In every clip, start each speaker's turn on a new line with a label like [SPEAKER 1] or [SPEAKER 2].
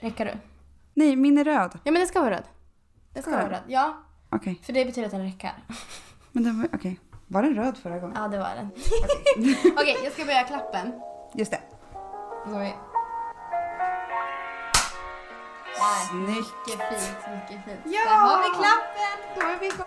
[SPEAKER 1] Räcker du?
[SPEAKER 2] Nej, min är röd.
[SPEAKER 1] Ja men den ska vara röd. Den ska
[SPEAKER 2] Ska
[SPEAKER 1] vara
[SPEAKER 2] den?
[SPEAKER 1] röd. Ja,
[SPEAKER 2] Okej.
[SPEAKER 1] för det betyder att den räcker.
[SPEAKER 2] Men den var, okej. Var den röd förra gången?
[SPEAKER 1] Ja det var den. Okej, jag ska börja klappen.
[SPEAKER 2] Just det.
[SPEAKER 1] Nu går vi. Där.
[SPEAKER 2] Snyggt.
[SPEAKER 1] Mycket fint, mycket fint.
[SPEAKER 2] Ja!
[SPEAKER 1] Där har vi klappen! Då är vi igång.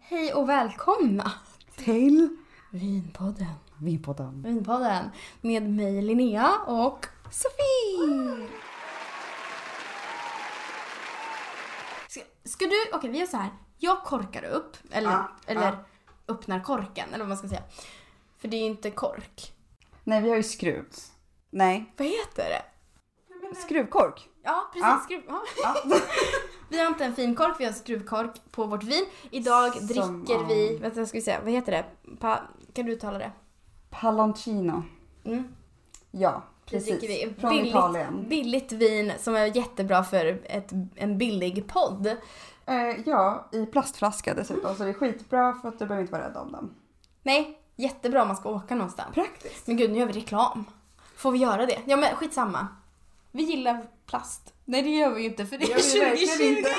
[SPEAKER 1] Hej och välkomna
[SPEAKER 2] Till
[SPEAKER 1] Vinpodden.
[SPEAKER 2] Vinpodden.
[SPEAKER 1] Vinpodden med mig Linnea och Sofie. Ska, ska du, okej vi gör så här. Jag korkar upp, eller,
[SPEAKER 2] Ja,
[SPEAKER 1] eller
[SPEAKER 2] ja.
[SPEAKER 1] öppnar korken, eller vad man ska säga. För det är ju inte kork.
[SPEAKER 2] Nej, vi har ju skruv. Nej.
[SPEAKER 1] Vad heter det?
[SPEAKER 2] Skruvkork.
[SPEAKER 1] Ja, precis.
[SPEAKER 2] Ja.
[SPEAKER 1] Skruv. Ja.
[SPEAKER 2] Ja.
[SPEAKER 1] Vi har inte en finkork, vi har skruvkork på vårt vin. Idag
[SPEAKER 2] Som
[SPEAKER 1] dricker
[SPEAKER 2] av-
[SPEAKER 1] vi, vänta jag ska vi se, vad heter det? Pa, kan du uttala det?
[SPEAKER 2] Palantino.
[SPEAKER 1] Mm.
[SPEAKER 2] Ja,
[SPEAKER 1] Det
[SPEAKER 2] precis.
[SPEAKER 1] dricker vi.
[SPEAKER 2] Från
[SPEAKER 1] billigt,
[SPEAKER 2] Italien.
[SPEAKER 1] billigt vin som är jättebra för ett, en billig podd.
[SPEAKER 2] Eh, ja, i plastflaska dessutom. Så det är skitbra för att du behöver inte vara rädd om dem.
[SPEAKER 1] Nej, jättebra om man ska åka någonstans.
[SPEAKER 2] Praktiskt.
[SPEAKER 1] Men gud, nu gör vi reklam. Får vi göra det? Ja, men skitsamma. Vi gillar plast. Nej, det gör vi ju inte för det
[SPEAKER 2] Det gör vi
[SPEAKER 1] är
[SPEAKER 2] verkligen
[SPEAKER 1] 2020.
[SPEAKER 2] inte.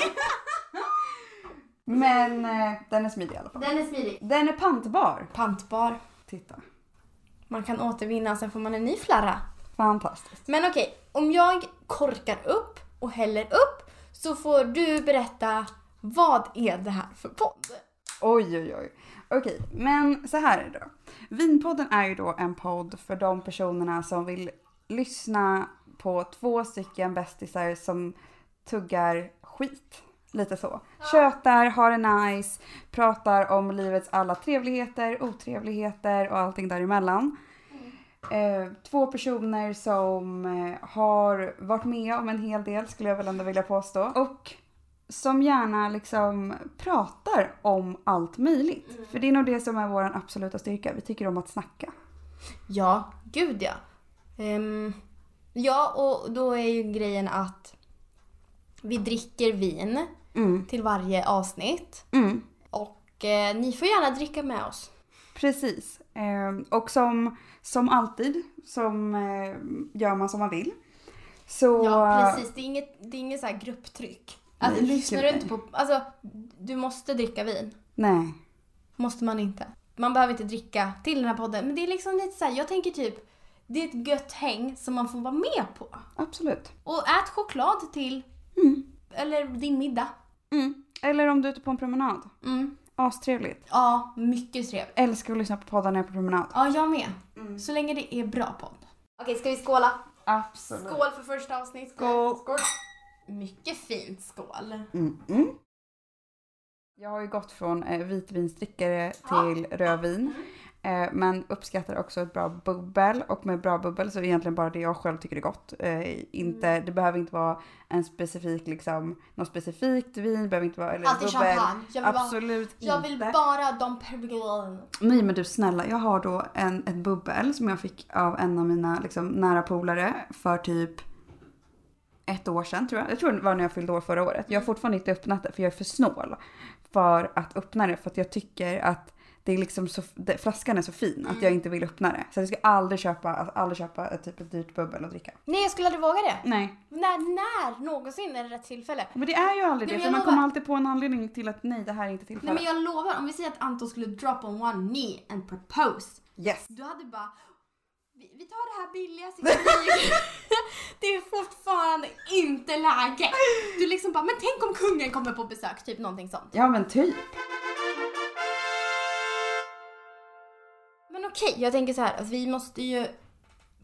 [SPEAKER 2] Men eh, den är smidig i alla fall.
[SPEAKER 1] Den är smidig.
[SPEAKER 2] Den är pantbar.
[SPEAKER 1] Pantbar.
[SPEAKER 2] Titta.
[SPEAKER 1] Man kan återvinna och sen får man en ny flarra.
[SPEAKER 2] Fantastiskt.
[SPEAKER 1] Men okej, om jag korkar upp och häller upp så får du berätta vad är det här för podd?
[SPEAKER 2] Oj, oj, oj. Okej, men så här är det då. Vinpodden är ju då en podd för de personerna som vill lyssna på två stycken bästisar som tuggar skit. Lite så. Tjötar, har det nice, pratar om livets alla trevligheter, otrevligheter och allting däremellan. Eh, två personer som eh, har varit med om en hel del skulle jag väl ändå vilja påstå. Och som gärna liksom pratar om allt möjligt. För det är nog det som är vår absoluta styrka. Vi tycker om att snacka.
[SPEAKER 1] Ja, gud ja. Ehm, ja, och då är ju grejen att vi dricker vin
[SPEAKER 2] Mm.
[SPEAKER 1] till varje avsnitt.
[SPEAKER 2] Mm.
[SPEAKER 1] Och eh, ni får gärna dricka med oss.
[SPEAKER 2] Precis. Ehm, Och som, som alltid, som eh, gör man som man vill. Så...
[SPEAKER 1] Ja, precis. Det är inget, det är inget så här grupptryck. Alltså,
[SPEAKER 2] Nej,
[SPEAKER 1] lyssnar
[SPEAKER 2] gud,
[SPEAKER 1] du
[SPEAKER 2] nej.
[SPEAKER 1] inte på... Alltså, du måste dricka vin.
[SPEAKER 2] Nej.
[SPEAKER 1] Måste man inte. Man behöver inte dricka till den här podden. Men det är liksom lite så här, jag tänker typ, det är ett gött häng som man får vara med på.
[SPEAKER 2] Absolut.
[SPEAKER 1] Och ät choklad till,
[SPEAKER 2] Mm.
[SPEAKER 1] eller din middag.
[SPEAKER 2] Mm. Eller om du är ute på en promenad.
[SPEAKER 1] Mm.
[SPEAKER 2] Astrevligt.
[SPEAKER 1] Ja, mycket trevligt.
[SPEAKER 2] Älskar att lyssna på poddar när jag är på promenad.
[SPEAKER 1] Ja, jag med.
[SPEAKER 2] Mm.
[SPEAKER 1] Så länge det är bra podd. Okej, ska vi skåla?
[SPEAKER 2] Absolut.
[SPEAKER 1] Skål för första avsnittet.
[SPEAKER 2] Skål.
[SPEAKER 1] Mycket fint skål.
[SPEAKER 2] Mm, mm. Jag har ju gått från eh, vitvinsdrickare till rödvin. Eh, men uppskattar också ett bra bubbel. Och med bra bubbel så är det egentligen bara det jag själv tycker är gott. Eh, inte,
[SPEAKER 1] Mm.
[SPEAKER 2] Det behöver inte vara en specifik, liksom, något specifikt vin. Behöver inte vara, eller
[SPEAKER 1] Alltid
[SPEAKER 2] bubbel.
[SPEAKER 1] champagne. Jag vill, bara,
[SPEAKER 2] Absolut
[SPEAKER 1] jag vill
[SPEAKER 2] inte.
[SPEAKER 1] bara Dom Perignon.
[SPEAKER 2] Nej men du snälla, jag har då en, ett bubbel som jag fick av en av mina liksom, nära polare för typ ett år sedan tror jag. Jag tror det var när jag fyllde år förra året. Jag har fortfarande inte öppnat det för jag är för snål för att öppna det för att jag tycker att det är liksom så, det, flaskan är så fin att jag inte vill öppna det. Så jag ska aldrig köpa, alltså, aldrig köpa ett, typ ett dyrt bubbel och dricka.
[SPEAKER 1] Nej, jag skulle aldrig våga det.
[SPEAKER 2] Nej,
[SPEAKER 1] När, när någonsin är det rätt tillfälle?
[SPEAKER 2] men det är ju aldrig
[SPEAKER 1] Nej, men
[SPEAKER 2] det för
[SPEAKER 1] jag
[SPEAKER 2] man
[SPEAKER 1] lovar.
[SPEAKER 2] kommer alltid på en anledning till att nej det här är inte
[SPEAKER 1] Nej men
[SPEAKER 2] tillfället.
[SPEAKER 1] jag lovar, om vi säger att Anton skulle drop on one knee and propose.
[SPEAKER 2] Yes!
[SPEAKER 1] Du hade bara, vi, vi tar det här billiga cigarillet. Det är fortfarande inte läge. Du liksom bara, men tänk om kungen kommer på besök, typ någonting sånt.
[SPEAKER 2] Ja men typ.
[SPEAKER 1] Men okej, jag tänker så här att vi måste ju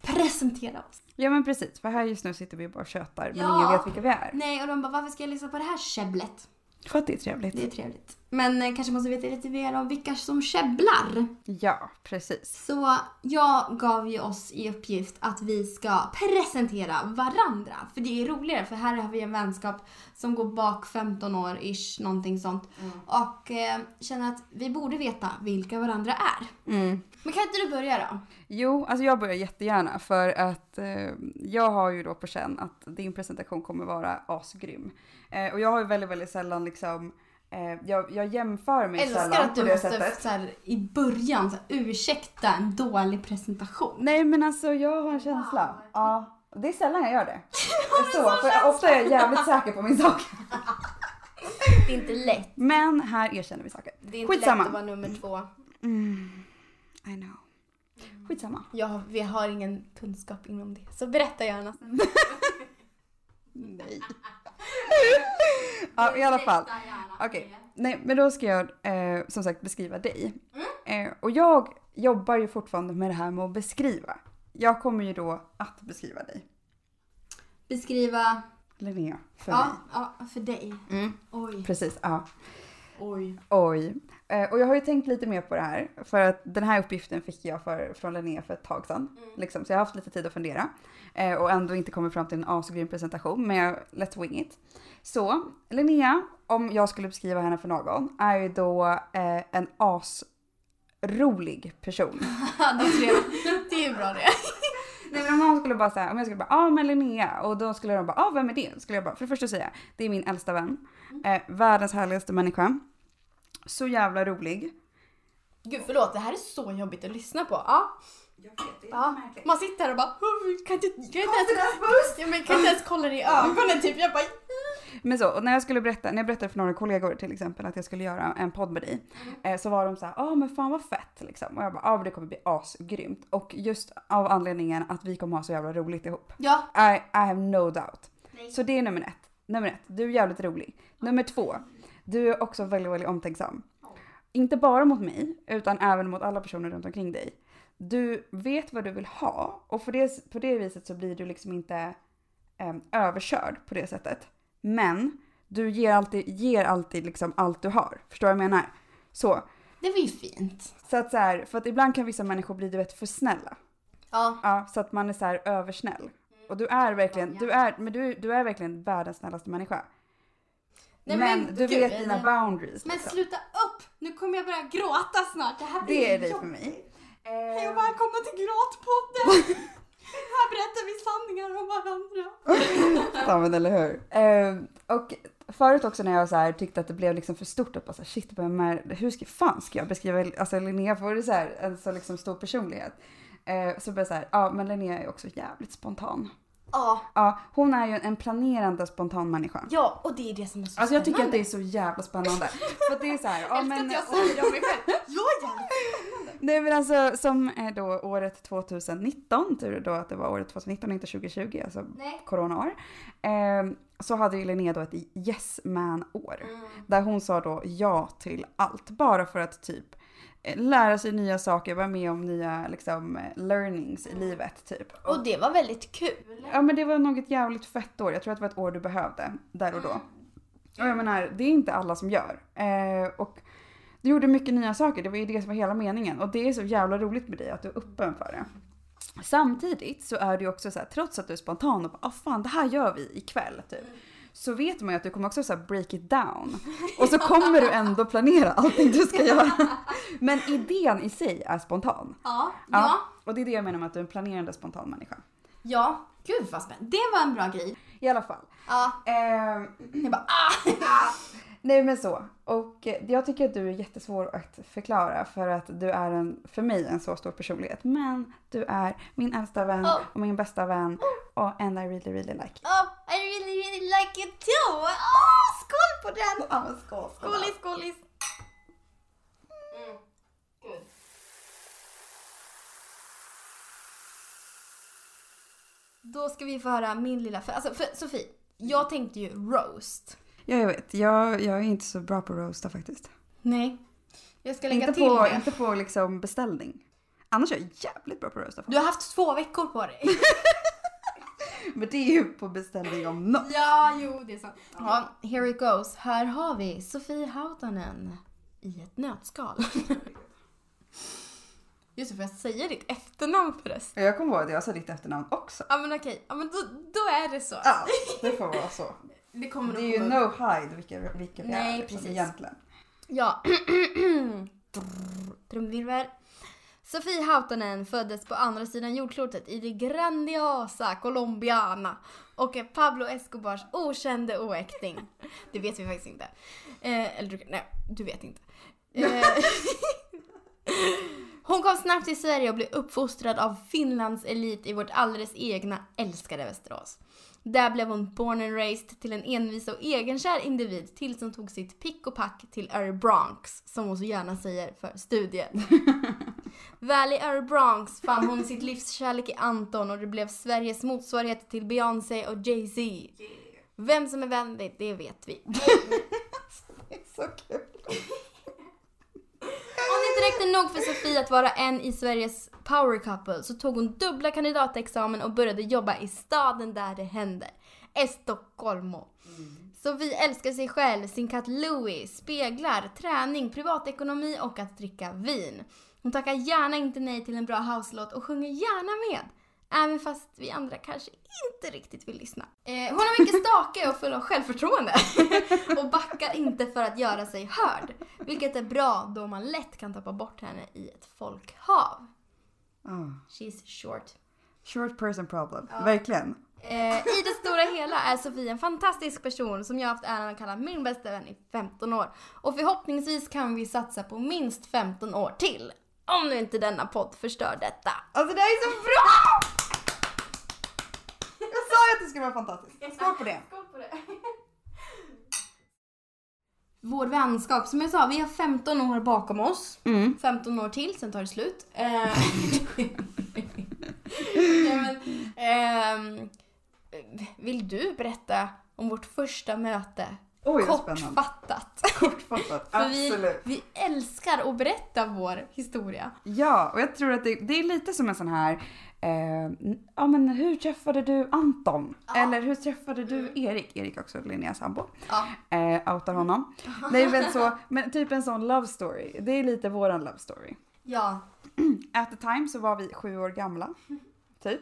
[SPEAKER 1] presentera oss.
[SPEAKER 2] Ja men precis, för här just nu sitter vi bara och tjötar men
[SPEAKER 1] Ja.
[SPEAKER 2] ingen vet vilka vi är.
[SPEAKER 1] Nej, och de bara varför ska jag lyssna på det här käbblet?
[SPEAKER 2] För att det är trevligt.
[SPEAKER 1] Det är trevligt. Men eh, kanske måste veta lite mer om vilka som käbblar.
[SPEAKER 2] Ja, precis.
[SPEAKER 1] Så jag gav ju oss i uppgift att vi ska presentera varandra. För det är roligare för här har vi en vänskap som går bak 15 år ish, någonting sånt. Och eh, känner att vi borde veta vilka varandra är.
[SPEAKER 2] Mm.
[SPEAKER 1] Men kan inte du börja då?
[SPEAKER 2] Jo, alltså jag börjar jättegärna för att eh, jag har ju då på känn att din presentation kommer vara asgrym. Eh, och jag har ju väldigt, väldigt sällan liksom, eh, jag, jag jämför mig
[SPEAKER 1] Älskar
[SPEAKER 2] sällan
[SPEAKER 1] att du
[SPEAKER 2] på det
[SPEAKER 1] måste
[SPEAKER 2] sättet.
[SPEAKER 1] så här, i början så här, ursäkta en dålig presentation.
[SPEAKER 2] Nej men alltså jag har en känsla.
[SPEAKER 1] Wow.
[SPEAKER 2] Ja, det är sällan jag gör det. Så,
[SPEAKER 1] sån
[SPEAKER 2] för ofta är jag jävligt säker på min sak.
[SPEAKER 1] Det är inte lätt.
[SPEAKER 2] Men här erkänner vi saker.
[SPEAKER 1] Det är
[SPEAKER 2] inte Skitsamma. lätt att
[SPEAKER 1] vara nummer två.
[SPEAKER 2] Mm, I know. Mm. Skitsamma.
[SPEAKER 1] Ja, vi har ingen kunskap inom det. Så berätta gärna.
[SPEAKER 2] Nej. ja, i alla fall. Okej. Nej, men då ska jag eh, som sagt beskriva dig. Eh, och jag jobbar ju fortfarande med det här med att beskriva. Jag kommer ju då att beskriva dig.
[SPEAKER 1] Beskriva.
[SPEAKER 2] Linnea, för
[SPEAKER 1] ja, ja, för dig.
[SPEAKER 2] mig. Mm.
[SPEAKER 1] Oj.
[SPEAKER 2] Precis, ja.
[SPEAKER 1] Oj.
[SPEAKER 2] Oj. Eh, och jag har ju tänkt lite mer på det här. För att den här uppgiften fick jag för, från Linnea för ett tag sedan. Liksom, så jag har haft lite tid att fundera. Eh, och ändå inte kommit fram till en asgrym presentation. Men jag let wing it. Så Linnea, om jag skulle beskriva henne för någon, är ju då eh, en asrolig person.
[SPEAKER 1] Ja, det, tror jag. det är ju bra det.
[SPEAKER 2] Nej men om någon skulle bara säga, om jag skulle bara ah men Linnea och då skulle de bara ah vem är det? Skulle jag bara för det första säga det är min äldsta vän. Eh, världens härligaste människa. Så jävla rolig.
[SPEAKER 1] Gud förlåt, det här är så jobbigt att lyssna på. Ja.
[SPEAKER 2] Jag vet, det är
[SPEAKER 1] ja. Man sitter här och bara kan inte, kan inte, ens,
[SPEAKER 2] märkligt.
[SPEAKER 1] ja, men kan inte ens kolla dig i ögonen typ. Jag bara
[SPEAKER 2] Men så, och när jag skulle berätta, när jag berättade för några kollegor till exempel att jag skulle göra en podd med dig. Eh, så var de så här, ja men fan vad fett liksom. Och jag bara, ja men det kommer bli asgrymt. Och just av anledningen att vi kommer ha så jävla roligt ihop.
[SPEAKER 1] ja.
[SPEAKER 2] I, I have no doubt.
[SPEAKER 1] Nej.
[SPEAKER 2] Så det är nummer ett. Nummer ett, du är jävligt rolig. Nummer två, du är också väldigt, väldigt omtänksam. Inte bara mot mig, utan även mot alla personer runt omkring dig. Du vet vad du vill ha och för det, på det viset så blir du liksom inte em, överkörd på det sättet. Men du ger alltid, ger alltid liksom allt du har. Förstår vad jag menar? Så,
[SPEAKER 1] Det var ju fint.
[SPEAKER 2] så att så här, för att ibland kan vissa människor bli du vet för snälla.
[SPEAKER 1] Ja. Mm.
[SPEAKER 2] Ja, så att man är så här översnäll. Och du är verkligen, du är, men du, du är verkligen världens snällaste människa.
[SPEAKER 1] Nej,
[SPEAKER 2] men,
[SPEAKER 1] men
[SPEAKER 2] du
[SPEAKER 1] gud,
[SPEAKER 2] vet dina
[SPEAKER 1] det-
[SPEAKER 2] boundaries.
[SPEAKER 1] Men
[SPEAKER 2] liksom.
[SPEAKER 1] sluta upp! Nu kommer jag börja gråta snart. Det här blir
[SPEAKER 2] Det är dig för
[SPEAKER 1] jobbigt.
[SPEAKER 2] mig.
[SPEAKER 1] Hej
[SPEAKER 2] Eh,
[SPEAKER 1] och välkomna till Gråtpodden! här berättar vi sanningar om varandra.
[SPEAKER 2] ja men eller hur. Eh, och förut också när jag så här tyckte att det blev liksom för stort att bara så här, shit, vem är, hur ska, fan ska jag beskriva alltså, Linnea? För det är så här, en så liksom stor personlighet. Eh, så blev jag så här, ja men Linnea är också jävligt spontan.
[SPEAKER 1] Ja,
[SPEAKER 2] Ja, hon är ju en planerande spontan människa.
[SPEAKER 1] ja och det är det som är så
[SPEAKER 2] Alltså jag tycker att
[SPEAKER 1] spännande.
[SPEAKER 2] det är så jävla spännande. För att det är så här, ja men...
[SPEAKER 1] Älskar att jag säger om mig själv. Jag är jävligt-
[SPEAKER 2] Nej men alltså som är då året 2019, tur då att det var året 2019 och inte 2020, alltså
[SPEAKER 1] Nej.
[SPEAKER 2] coronaår. Eh, så hade ju Linnea då ett yes man år.
[SPEAKER 1] Mm.
[SPEAKER 2] Där hon sa då ja till allt bara för att typ eh, lära sig nya saker, vara med om nya liksom eh, learnings i livet typ.
[SPEAKER 1] Och det var väldigt kul.
[SPEAKER 2] Ja men det var nog ett jävligt fett år. Jag tror att det var ett år du behövde där och då. Och jag menar, det är inte alla som gör. Eh, och du gjorde mycket nya saker, det var ju det som var hela meningen. Och det är så jävla roligt med dig att du är öppen för det. Samtidigt så är du ju också så här, trots att du är spontan och bara ah, fan det här gör vi ikväll typ. Så vet man ju att du kommer också så här break it down. Och så kommer du ändå planera allting du ska göra. Men idén i sig är spontan.
[SPEAKER 1] Ja, ja,
[SPEAKER 2] Och det är det jag menar med att du är en planerande spontan människa.
[SPEAKER 1] ja. Gud vad spännande. Det var en bra grej.
[SPEAKER 2] I alla fall.
[SPEAKER 1] Ja,
[SPEAKER 2] Ehm,
[SPEAKER 1] jag bara ah!
[SPEAKER 2] Nej men så. Och eh, jag tycker att du är jättesvår att förklara för att du är en, för mig en så stor personlighet. Men du är min äldsta vän
[SPEAKER 1] Oh.
[SPEAKER 2] och min bästa vän och and I really really like you.
[SPEAKER 1] Oh, I really really like it too! Oh, skål på den!
[SPEAKER 2] Ja men skål, skål.
[SPEAKER 1] Skålis, skålis! Mm. Gud. Då ska vi få höra min lilla... För, alltså, för Sofie, jag tänkte ju roast.
[SPEAKER 2] Ja jag vet, jag, jag är inte så bra på att roasta faktiskt.
[SPEAKER 1] Nej. Jag ska lägga
[SPEAKER 2] Inte
[SPEAKER 1] till
[SPEAKER 2] på,
[SPEAKER 1] det.
[SPEAKER 2] inte på liksom beställning. Annars är jag jävligt bra på att roasta.
[SPEAKER 1] Du har haft två veckor på dig.
[SPEAKER 2] Men det är ju på beställning om något.
[SPEAKER 1] ja, jo, det är sant. Ja, here it goes. Här har vi Sofie Hautanen. i ett nötskal. Just det, får jag säga ditt efternamn förresten?
[SPEAKER 2] Ja, Jag kommer ihåg att jag sa ditt efternamn också.
[SPEAKER 1] Ja men okej, ja, men då, då är det så.
[SPEAKER 2] Ja, det får vara så.
[SPEAKER 1] Det kommer
[SPEAKER 2] Det
[SPEAKER 1] nog
[SPEAKER 2] är ju
[SPEAKER 1] komma upp.
[SPEAKER 2] no hide vilka, vilka vi
[SPEAKER 1] Nej,
[SPEAKER 2] är liksom,
[SPEAKER 1] precis.
[SPEAKER 2] egentligen.
[SPEAKER 1] Ja. Trumvirvel. Sofie Hautanen föddes på andra sidan jordklotet i det grandiosa Colombiana och är Pablo Escobars okände oäkting. Det vet vi faktiskt inte. Eh, eller du, nej, du vet inte. Eh, hon kom snabbt till Sverige och blev uppfostrad av Finlands elit i vårt alldeles egna älskade Västerås. Där blev hon born and raised till en envis och egenkär individ tills hon tog sitt pick och pack till Örebronx, som hon så gärna säger för studier. Väl i Örebronx fann hon sitt livs kärlek i Anton och det blev Sveriges motsvarighet till Beyoncé och Jay-Z. Vem som är vem, vet- det vet vi.
[SPEAKER 2] Det är så kul.
[SPEAKER 1] Om det inte räckte nog för Sofie att vara en i Sveriges power couple så tog hon dubbla kandidatexamen och började jobba i staden där det händer. Estocolmo. Sofie älskar sig själv, sin katt Louis, speglar, träning, privatekonomi och att dricka vin. Hon tackar gärna inte nej till en bra house-låt och sjunger gärna med. Även fast vi andra kanske inte riktigt vill lyssna. Eh, hon är mycket stakig och full av självförtroende. och backar inte för att göra sig hörd. Vilket är bra då man lätt kan tappa bort henne i ett folkhav.
[SPEAKER 2] Ah,
[SPEAKER 1] She's short.
[SPEAKER 2] Short person problem, verkligen.
[SPEAKER 1] Eh, I det stora hela är Sofie en fantastisk person som jag haft äran att kalla min bästa vän i 15 år. Och förhoppningsvis kan vi satsa på minst 15 år till. Om nu inte denna podd förstör detta.
[SPEAKER 2] Alltså det här är så bra! Jag sa ju att det skulle vara fantastiskt. Skål på det.
[SPEAKER 1] Vår vänskap, som jag sa, vi har 15 år bakom oss.
[SPEAKER 2] Mm.
[SPEAKER 1] 15 år till, sen tar det slut. Eh, Nej, men, ehm, vill du berätta om vårt första möte?
[SPEAKER 2] Oj, vad spännande.
[SPEAKER 1] Kortfattat.
[SPEAKER 2] Kortfattat,
[SPEAKER 1] För vi,
[SPEAKER 2] absolut.
[SPEAKER 1] vi älskar att berätta vår historia.
[SPEAKER 2] Ja, och jag tror att det, det är lite som en sån här, eh, ja men hur träffade du Anton? Eller hur träffade du Erik? Erik är också Linneas sambo.
[SPEAKER 1] Ja.
[SPEAKER 2] Eh, outar honom. Det är väl så, men typ en sån love story. Det är lite våran love story.
[SPEAKER 1] Ja.
[SPEAKER 2] At the time så var vi sju år gamla. Typ.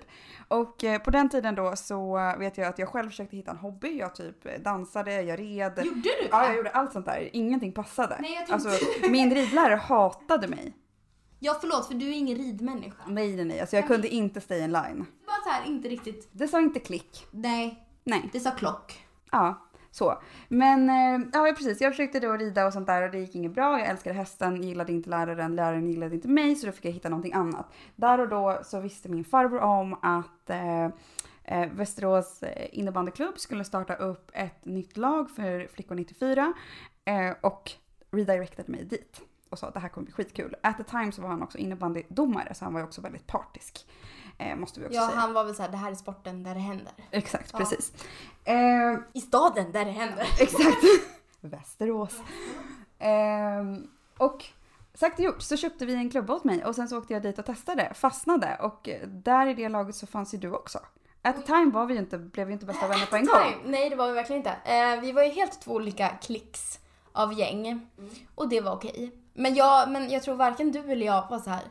[SPEAKER 2] Och eh, på den tiden då så vet jag att jag själv försökte hitta en hobby. Jag typ dansade, jag red.
[SPEAKER 1] Gjorde du
[SPEAKER 2] Ja, jag gjorde allt sånt där. Ingenting passade.
[SPEAKER 1] Nej, jag tänkte-
[SPEAKER 2] alltså, min ridlärare hatade mig.
[SPEAKER 1] Ja, förlåt, för du är ingen ridmänniska.
[SPEAKER 2] Nej, nej, nej. Alltså, jag kunde inte stay in line.
[SPEAKER 1] Det var så här, inte riktigt...
[SPEAKER 2] Det sa inte klick.
[SPEAKER 1] Nej,
[SPEAKER 2] Nej.
[SPEAKER 1] det sa klock.
[SPEAKER 2] Ja, så. Men eh, ja, precis. Jag försökte då rida och sånt där och det gick inget bra. Jag älskade hästen, gillade inte läraren, läraren gillade inte mig så då fick jag hitta någonting annat. Där och då så visste min farbror om att eh, eh, Västerås eh, innebandyklubb skulle starta upp ett nytt lag för flickor 94 eh, och redirectade mig dit och sa att det här kommer bli skitkul. At the time så var han också innebandydomare så han var ju också väldigt partisk. Eh, måste vi också
[SPEAKER 1] Ja,
[SPEAKER 2] säga.
[SPEAKER 1] han var väl så här, det här är sporten där det händer.
[SPEAKER 2] Exakt,
[SPEAKER 1] Ja.
[SPEAKER 2] precis. Eh,
[SPEAKER 1] I staden där det händer.
[SPEAKER 2] Exakt. Västerås. Ehm, och sagt och gjort så köpte vi en klubba åt mig och sen så åkte jag dit och testade, fastnade och eh, där i det laget så fanns ju du också. At the time var vi ju inte, blev vi inte bästa vänner på en gång.
[SPEAKER 1] Nej, nej, det var vi verkligen inte. Eh, vi var ju helt två olika klicks av gäng.
[SPEAKER 2] Mm.
[SPEAKER 1] Och det var okej. Men jag, men jag tror varken du eller jag var så här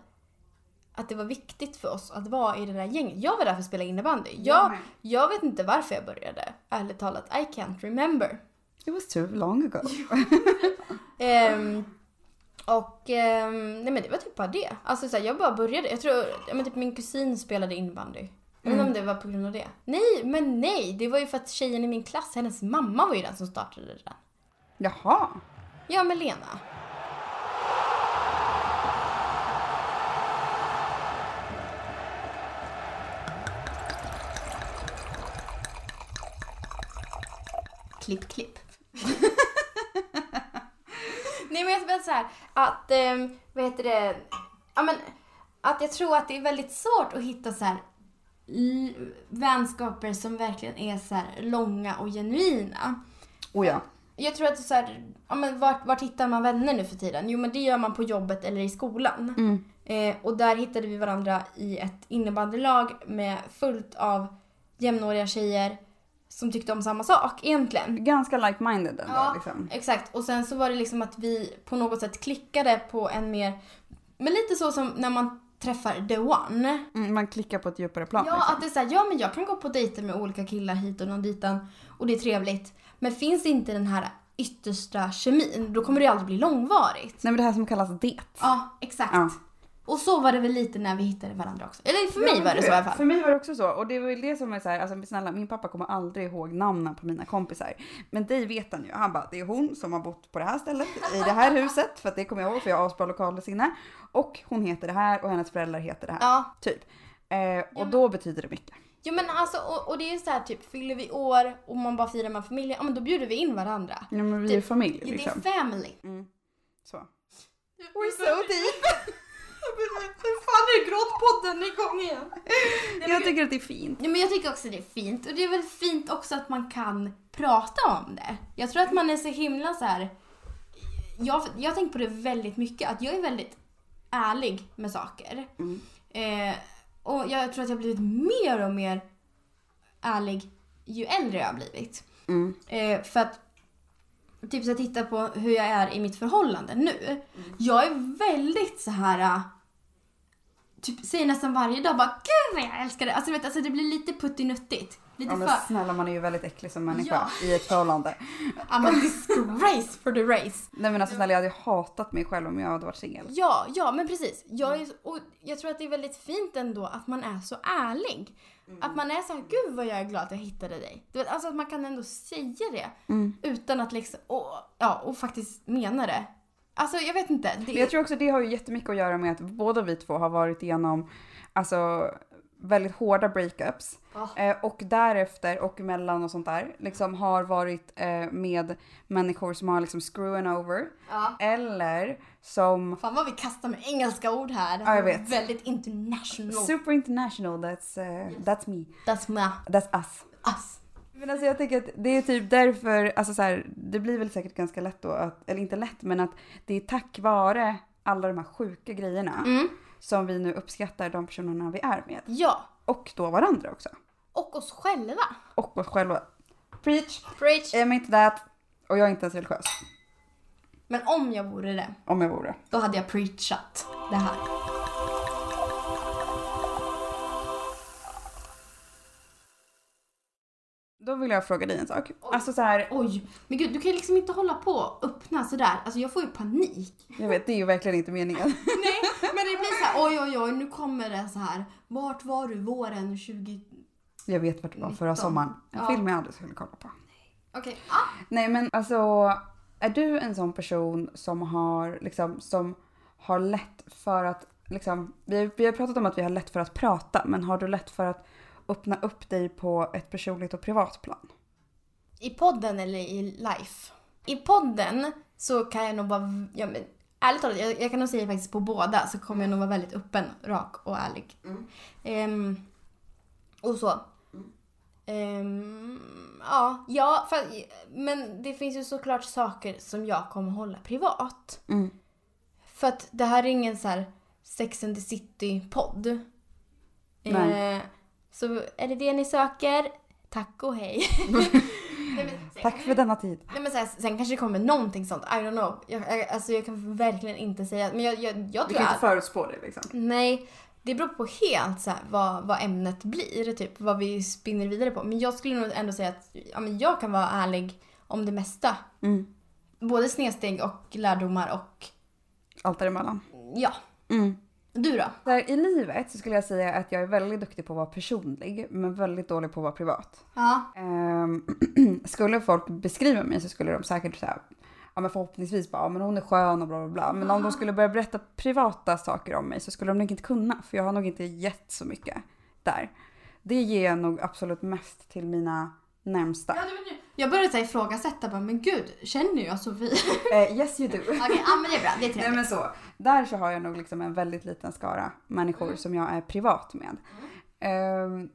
[SPEAKER 1] att det var viktigt för oss att vara i det där gänget. Jag var där för att spela innebandy.
[SPEAKER 2] Jag
[SPEAKER 1] Jag,
[SPEAKER 2] med.
[SPEAKER 1] jag vet inte varför jag började. Ärligt talat, I can't remember.
[SPEAKER 2] It was too long ago.
[SPEAKER 1] Ehm, och ehm, nej men det var typ bara det. Alltså så här, jag bara började. Jag tror, ja, men typ min kusin spelade innebandy. Jag undrar om det var på grund av det. Nej, men nej! Det var ju för att tjejen i min klass, hennes mamma var ju den som startade det där.
[SPEAKER 2] Jaha.
[SPEAKER 1] Ja, men Lena. Klipp, klipp. Nej, men jag menar så här att, ehm, vad heter det, ja men att jag tror att det är väldigt svårt att hitta så här l- vänskaper som verkligen är så här långa och genuina.
[SPEAKER 2] Oh ja.
[SPEAKER 1] Jag tror att det är så här, ja, men vart, vart hittar man vänner nu för tiden? Jo men det gör man på jobbet eller i skolan. Eh, och där hittade vi varandra i ett innebandylag med fullt av jämnåriga tjejer som tyckte om samma sak egentligen.
[SPEAKER 2] Ganska like-minded ändå
[SPEAKER 1] Ja.
[SPEAKER 2] liksom.
[SPEAKER 1] Exakt, och sen så var det liksom att vi på något sätt klickade på en mer, men lite så som när man träffar the one.
[SPEAKER 2] Mm, man klickar på ett djupare plan.
[SPEAKER 1] Ja,
[SPEAKER 2] liksom.
[SPEAKER 1] att det är såhär, ja men jag kan gå på dejter med olika killar hit och någon ditan och det är trevligt. Men finns inte den här yttersta kemin, då kommer det ju aldrig bli långvarigt.
[SPEAKER 2] Nej men det här som kallas det.
[SPEAKER 1] Ja, exakt.
[SPEAKER 2] Ja.
[SPEAKER 1] Och så var det väl lite när vi hittade varandra också. Eller för mig
[SPEAKER 2] Ja, men
[SPEAKER 1] var det
[SPEAKER 2] du,
[SPEAKER 1] så i alla fall.
[SPEAKER 2] För mig var det också så. Och det var väl det som är så här, alltså snälla min pappa kommer aldrig ihåg namnen på mina kompisar. Men dig vet han ju. Han bara, det är hon som har bott på det här stället, i det här huset. För att det kommer jag ihåg för jag har asbra lokalsinne. Och hon heter det här och hennes föräldrar heter det här.
[SPEAKER 1] Ja,
[SPEAKER 2] Typ. Eh, och då betyder det mycket.
[SPEAKER 1] Ja men alltså och, och det är ju så här typ fyller vi år och man bara firar med familjen, ja men då bjuder vi in varandra.
[SPEAKER 2] Ja men vi är
[SPEAKER 1] Det-
[SPEAKER 2] ju familj
[SPEAKER 1] Typ. Det Mm. är
[SPEAKER 2] liksom.
[SPEAKER 1] family.
[SPEAKER 2] Så.
[SPEAKER 1] We're so deep. Hur fan är gråtpodden igång igen?
[SPEAKER 2] Jag tycker att det är fint.
[SPEAKER 1] Ja, men jag tycker också det är fint och det är väl fint också att man kan prata om det. Jag tror att man är så himla så här. Jag, jag har tänkt på det väldigt mycket att jag är väldigt ärlig med saker.
[SPEAKER 2] Mm.
[SPEAKER 1] Eh, och jag tror att jag har blivit mer och mer ärlig ju äldre jag har blivit.
[SPEAKER 2] Mm.
[SPEAKER 1] Eh, för att typ så här, titta på hur jag är i mitt förhållande nu.
[SPEAKER 2] Mm.
[SPEAKER 1] Jag är väldigt så här eh, typ säger nästan varje dag bara gud vad jag älskar det. Alltså, du vet, alltså det blir lite puttinuttigt. Lite
[SPEAKER 2] Ja men
[SPEAKER 1] för
[SPEAKER 2] snälla man är ju väldigt äcklig som människa
[SPEAKER 1] Ja.
[SPEAKER 2] i ett förhållande.
[SPEAKER 1] I'm a disgrace for the race.
[SPEAKER 2] Nej men alltså snälla jag hade ju hatat mig själv om jag hade varit singel.
[SPEAKER 1] Ja, ja men precis. Jag,
[SPEAKER 2] Mm.
[SPEAKER 1] är, och jag tror att det är väldigt fint ändå att man är så ärlig.
[SPEAKER 2] Mm.
[SPEAKER 1] Att man är så här, gud vad jag är glad att jag hittade dig. Du vet, alltså att man kan ändå säga det
[SPEAKER 2] Mm.
[SPEAKER 1] utan att liksom, och, ja, och faktiskt mena det. Alltså jag vet inte. Det,
[SPEAKER 2] Men jag tror också det har ju jättemycket att göra med att båda vi två har varit igenom alltså, väldigt hårda breakups.
[SPEAKER 1] Ja.
[SPEAKER 2] Eh, och därefter och mellan och sånt där liksom har varit eh, med människor som har liksom screwen over.
[SPEAKER 1] ja.
[SPEAKER 2] Eller som
[SPEAKER 1] Fan vad vi kastar med engelska ord här.
[SPEAKER 2] Ja, jag vet.
[SPEAKER 1] Väldigt international.
[SPEAKER 2] super international, that's, eh, that's me,
[SPEAKER 1] That's my
[SPEAKER 2] that's us.
[SPEAKER 1] us.
[SPEAKER 2] Men alltså jag tänker att det är typ därför, alltså så här, det blir väl säkert ganska lätt då, att, eller inte lätt men att det är tack vare alla de här sjuka grejerna
[SPEAKER 1] Mm.
[SPEAKER 2] som vi nu uppskattar de personerna vi är med.
[SPEAKER 1] Ja,
[SPEAKER 2] Och då varandra också.
[SPEAKER 1] och oss själva.
[SPEAKER 2] Och oss själva. Preach!
[SPEAKER 1] Preach.
[SPEAKER 2] I'm inte that. Och jag är inte ens religiös.
[SPEAKER 1] Men om jag vore det,
[SPEAKER 2] Om jag vore.
[SPEAKER 1] då hade jag preachat det här.
[SPEAKER 2] Då vill jag fråga dig en sak. Alltså så här,
[SPEAKER 1] Oj, men gud du kan ju liksom inte hålla på och öppna sådär. Alltså jag får ju panik.
[SPEAKER 2] jag vet det är ju verkligen inte meningen.
[SPEAKER 1] Nej, men det blir så här, oj oj oj, nu kommer det så här. Vart var du våren 20...
[SPEAKER 2] Jag vet vart det var förra
[SPEAKER 1] Nitton.
[SPEAKER 2] sommaren. En
[SPEAKER 1] Ja.
[SPEAKER 2] film jag aldrig skulle kolla på.
[SPEAKER 1] Okej. Ah.
[SPEAKER 2] Nej men alltså, är du en sån person som har liksom, som har lätt för att liksom, vi, vi har pratat om att vi har lätt för att prata men har du lätt för att öppna upp dig på ett personligt och privat plan?
[SPEAKER 1] I podden eller i life? I podden så kan jag nog vara... Ja, men, ärligt talat, jag, jag kan nog säga faktiskt på båda så kommer jag nog vara väldigt öppen, rak och ärlig. Ehm, och så. Ehm, ja, ja för, men det finns ju såklart saker som jag kommer hålla privat.
[SPEAKER 2] Mm.
[SPEAKER 1] För att det här är ingen så här Sex and the City-podd.
[SPEAKER 2] Nej.
[SPEAKER 1] Eh, så är det det ni söker? Tack och hej. Nej, men, sen-
[SPEAKER 2] Tack för denna tid.
[SPEAKER 1] Nej, men så här, sen kanske det kommer någonting sånt. I don't know. Jag, jag, alltså, jag kan verkligen inte säga. Men jag, jag, jag
[SPEAKER 2] Du
[SPEAKER 1] tror
[SPEAKER 2] kan
[SPEAKER 1] att...
[SPEAKER 2] inte förutspå det liksom.
[SPEAKER 1] Nej, det beror på helt så här, vad, vad ämnet blir. Typ vad vi spinner vidare på. Men jag skulle nog ändå säga att ja, men jag kan vara ärlig om det mesta.
[SPEAKER 2] Mm.
[SPEAKER 1] Både snedsteg och lärdomar och
[SPEAKER 2] Allt däremellan.
[SPEAKER 1] ja.
[SPEAKER 2] Mm.
[SPEAKER 1] Du då?
[SPEAKER 2] Så här, I livet så skulle jag säga att jag är väldigt duktig på att vara personlig men väldigt dålig på att vara privat.
[SPEAKER 1] Ja.
[SPEAKER 2] Ehm, skulle folk beskriva mig så skulle de säkert säga Ja men förhoppningsvis bara, ja, men hon är skön och bla bla bla. Men om de skulle börja berätta privata saker om mig så skulle de nog inte kunna för jag har nog inte gett så mycket där. Det ger jag nog absolut mest till mina närmsta.
[SPEAKER 1] Jag började så här, ifrågasätta, bara, men gud, känner jag Sofie?
[SPEAKER 2] Eh, yes you do.
[SPEAKER 1] Okej, ja men det är bra, det är
[SPEAKER 2] Nej
[SPEAKER 1] trevligt.
[SPEAKER 2] men så. Där så har jag nog liksom en väldigt liten skara människor som jag är privat med. Ehm,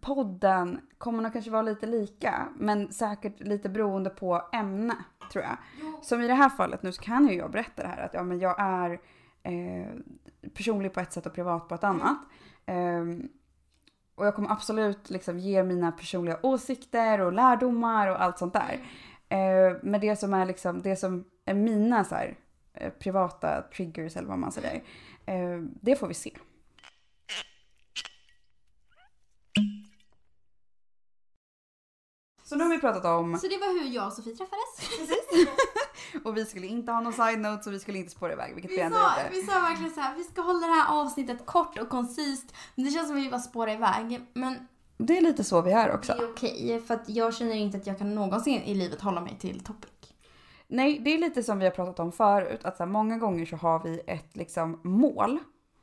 [SPEAKER 2] podden kommer nog kanske vara lite lika men säkert lite beroende på ämne tror jag. Som i det här fallet nu så kan ju jag berätta det här att ja, men jag är eh, personlig på ett sätt och privat på ett annat. Ehm, Och jag kommer absolut liksom ge mina personliga åsikter och lärdomar och allt sånt där. Eh, men det som är liksom, det som är mina så här, eh, privata triggers eller vad man säger, eh, det får vi se. Så nu har vi pratat om
[SPEAKER 1] Så det var hur jag och Sofie träffades.
[SPEAKER 2] och vi skulle inte ha någon side note så vi skulle inte spåra iväg vilket vi,
[SPEAKER 1] Vi
[SPEAKER 2] ändå
[SPEAKER 1] sa,
[SPEAKER 2] gjorde.
[SPEAKER 1] vi sa verkligen så här, vi ska hålla det här avsnittet kort och koncist. Men det känns som att vi bara spårar iväg. Men
[SPEAKER 2] Det är lite så vi är också.
[SPEAKER 1] det är okej för att jag känner inte att jag kan någonsin i livet hålla mig till topic.
[SPEAKER 2] Nej, det är lite som vi har pratat om förut. Att så här, många gånger så har vi ett liksom, mål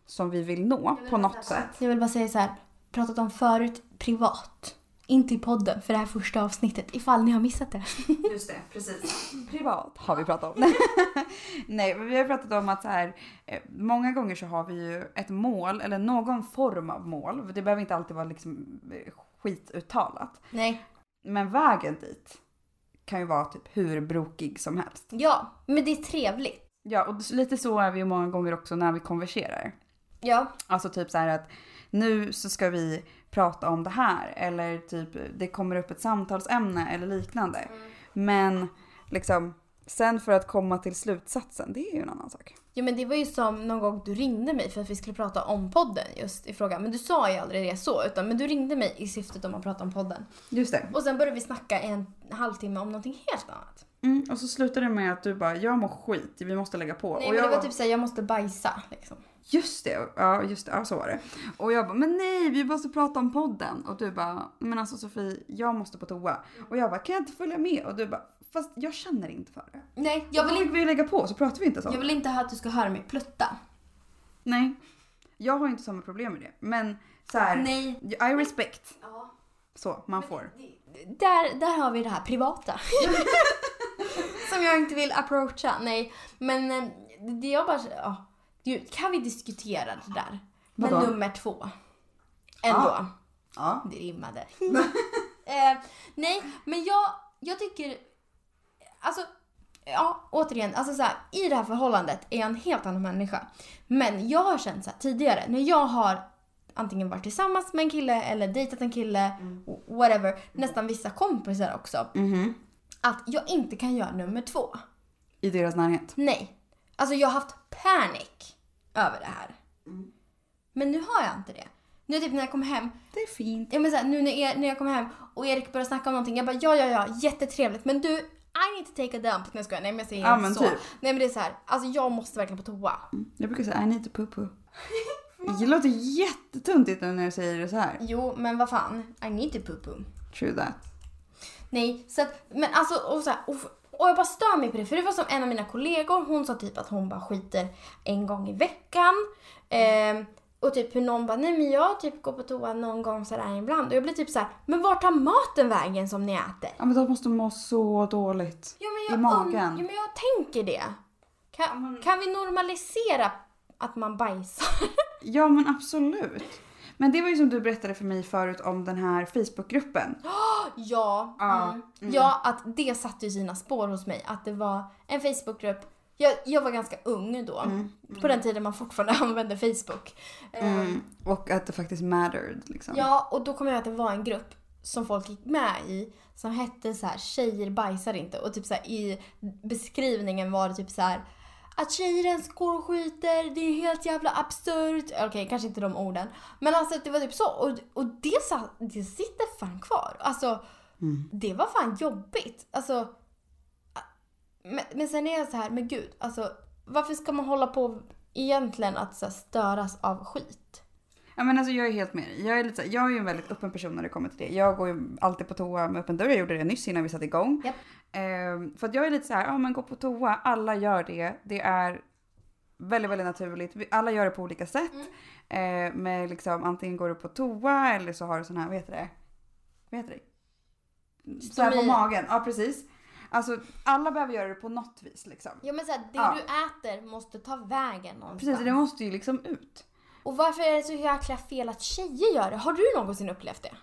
[SPEAKER 2] som vi vill nå på något sätt.
[SPEAKER 1] Jag vill bara säga så här, pratat om förut privat. Inte i podden för det här första avsnittet ifall ni har missat det.
[SPEAKER 2] Just det, precis. Privat har vi pratat om. Nej, men vi har pratat om att så här, eh, många gånger så har vi ju ett mål eller någon form av mål. För Det behöver inte alltid vara liksom eh, skituttalat.
[SPEAKER 1] Nej.
[SPEAKER 2] Men vägen dit kan ju vara typ hur brokig som helst.
[SPEAKER 1] Ja, men det är trevligt.
[SPEAKER 2] Ja, och s- lite så är vi ju många gånger också när vi konverserar.
[SPEAKER 1] Ja.
[SPEAKER 2] Alltså typ så här att nu så ska vi prata om det här eller typ det kommer upp ett samtalsämne eller liknande.
[SPEAKER 1] Mm.
[SPEAKER 2] Men liksom sen för att komma till slutsatsen, det är ju en annan sak.
[SPEAKER 1] Ja men det var ju som någon gång du ringde mig för att vi skulle prata om podden just i frågan. Men du sa ju aldrig det så utan men du ringde mig i syftet om att prata om podden.
[SPEAKER 2] Just det.
[SPEAKER 1] Och sen började vi snacka i en halvtimme om någonting helt annat.
[SPEAKER 2] Mm, och så slutar det med att du bara, jag mår skit, vi måste lägga på.
[SPEAKER 1] Nej
[SPEAKER 2] och
[SPEAKER 1] men
[SPEAKER 2] jag
[SPEAKER 1] det var
[SPEAKER 2] bara,
[SPEAKER 1] typ såhär, jag måste bajsa liksom.
[SPEAKER 2] Just det, ja just det, ja, så var det. Och jag bara, men nej vi måste prata om podden. Och du bara, men alltså Sofie, jag måste på toa. Och jag bara, kan jag inte följa med? Och du bara, fast jag känner inte för det.
[SPEAKER 1] Nej, jag
[SPEAKER 2] Då
[SPEAKER 1] vill,
[SPEAKER 2] fick
[SPEAKER 1] inte,
[SPEAKER 2] vi lägga på så pratar vi inte så.
[SPEAKER 1] jag vill inte ha att du ska höra mig plutta.
[SPEAKER 2] Nej. Jag har inte samma problem med det. Men så här,
[SPEAKER 1] Nej.
[SPEAKER 2] I respect.
[SPEAKER 1] Ja.
[SPEAKER 2] Så, man får.
[SPEAKER 1] Där, där har vi det här privata. Som jag inte vill approacha. Nej, men eh, det jag bara... Ja, Gud, kan vi diskutera det där? Men
[SPEAKER 2] Vadå? Ah.
[SPEAKER 1] nummer två. Ändå.
[SPEAKER 2] Ja. Ja.
[SPEAKER 1] Det rimmade. eh, nej, men jag, jag tycker... Alltså, ja, återigen. Alltså så här, I det här förhållandet är jag en helt annan människa. Men jag har känt så här, tidigare, när jag har antingen varit tillsammans med en kille eller dejtat en kille, whatever, nästan vissa kompisar också, att jag inte kan göra nummer två.
[SPEAKER 2] Mhm. I deras närhet.
[SPEAKER 1] Nej. Alltså jag har haft panic över det här. Men nu har jag inte det. Nu typ när jag kom hem,
[SPEAKER 2] Det är fint.
[SPEAKER 1] Ja, men så här, nu när, er, när jag kom hem och Erik började snacka om någonting, jag bara ja, ja, ja, jättetrevligt. Men du, I need to take a dump. Nej, jag skojar. Nej, men jag säger
[SPEAKER 2] Ja,
[SPEAKER 1] inte
[SPEAKER 2] men
[SPEAKER 1] så.
[SPEAKER 2] typ.
[SPEAKER 1] Nej, men det är så här. Alltså jag måste verkligen på toa.
[SPEAKER 2] Jag brukar säga I need to poo poo. Det låter jättetuntigt nu när jag säger det så här.
[SPEAKER 1] Jo, men vad fan. I need to poo poo.
[SPEAKER 2] True that.
[SPEAKER 1] Nej, så att, men alltså och så här, och, och jag bara stör mig på det. För det var som en av mina kollegor, hon sa typ att hon bara skiter en gång i veckan. Ehm, och typ hur någon bara, nej men jag typ går på toa någon gång sådär ibland. Och jag blir typ så här, men vart tar maten vägen som ni äter?
[SPEAKER 2] Ja men de måste må så dåligt.
[SPEAKER 1] Ja, men
[SPEAKER 2] I
[SPEAKER 1] jag
[SPEAKER 2] magen.
[SPEAKER 1] und- ja, men jag tänker det. Kan, kan vi normalisera att man bajsar?
[SPEAKER 2] Ja men absolut. Men det var ju som du berättade för mig förut om den här Facebookgruppen.
[SPEAKER 1] ja.
[SPEAKER 2] Ja,
[SPEAKER 1] Mm. Ja, att det satte ju sina spår hos mig. Att det var en Facebookgrupp. Jag, jag var ganska ung då. På den tiden man fortfarande använde Facebook. Eh,
[SPEAKER 2] Mm. Och att det faktiskt mattered liksom.
[SPEAKER 1] Ja, och då kom jag ihåg att det var en grupp som folk gick med i som hette så här “Tjejer bajsar inte” och typ så här, i beskrivningen var det typ så här att tjejer ens går och skiter, det är helt jävla absurt. Okej, kanske inte de orden. Men alltså det var typ så. Och, och det, sa, det sitter fan kvar. Alltså, det var fan jobbigt. Alltså, men, men sen är jag så här, men gud, alltså varför ska man hålla på egentligen att så här, störas av skit?
[SPEAKER 2] Ja, men alltså, jag är helt med dig. jag är, lite, så här- jag är ju en väldigt öppen person när det kommer till det. Jag går ju alltid på toa med öppen dörr. Jag gjorde det nyss innan vi satte igång.
[SPEAKER 1] Japp.
[SPEAKER 2] Ehm, för att jag är lite så här, ja men gå på toa, alla gör det. Det är väldigt, väldigt naturligt. Vi- Alla gör det på olika sätt. Mm. med liksom, antingen går du på toa eller så har du sån här, vad heter det? Vad heter det? Så här på
[SPEAKER 1] Stomi.
[SPEAKER 2] magen, ja precis. Alltså alla behöver göra det på något vis liksom.
[SPEAKER 1] Ja men såhär, det
[SPEAKER 2] Ja.
[SPEAKER 1] du äter måste ta vägen någonstans.
[SPEAKER 2] Precis, det måste ju liksom ut.
[SPEAKER 1] Och varför är det så jäkla fel att tjejer gör det? Har du någonsin upplevt det?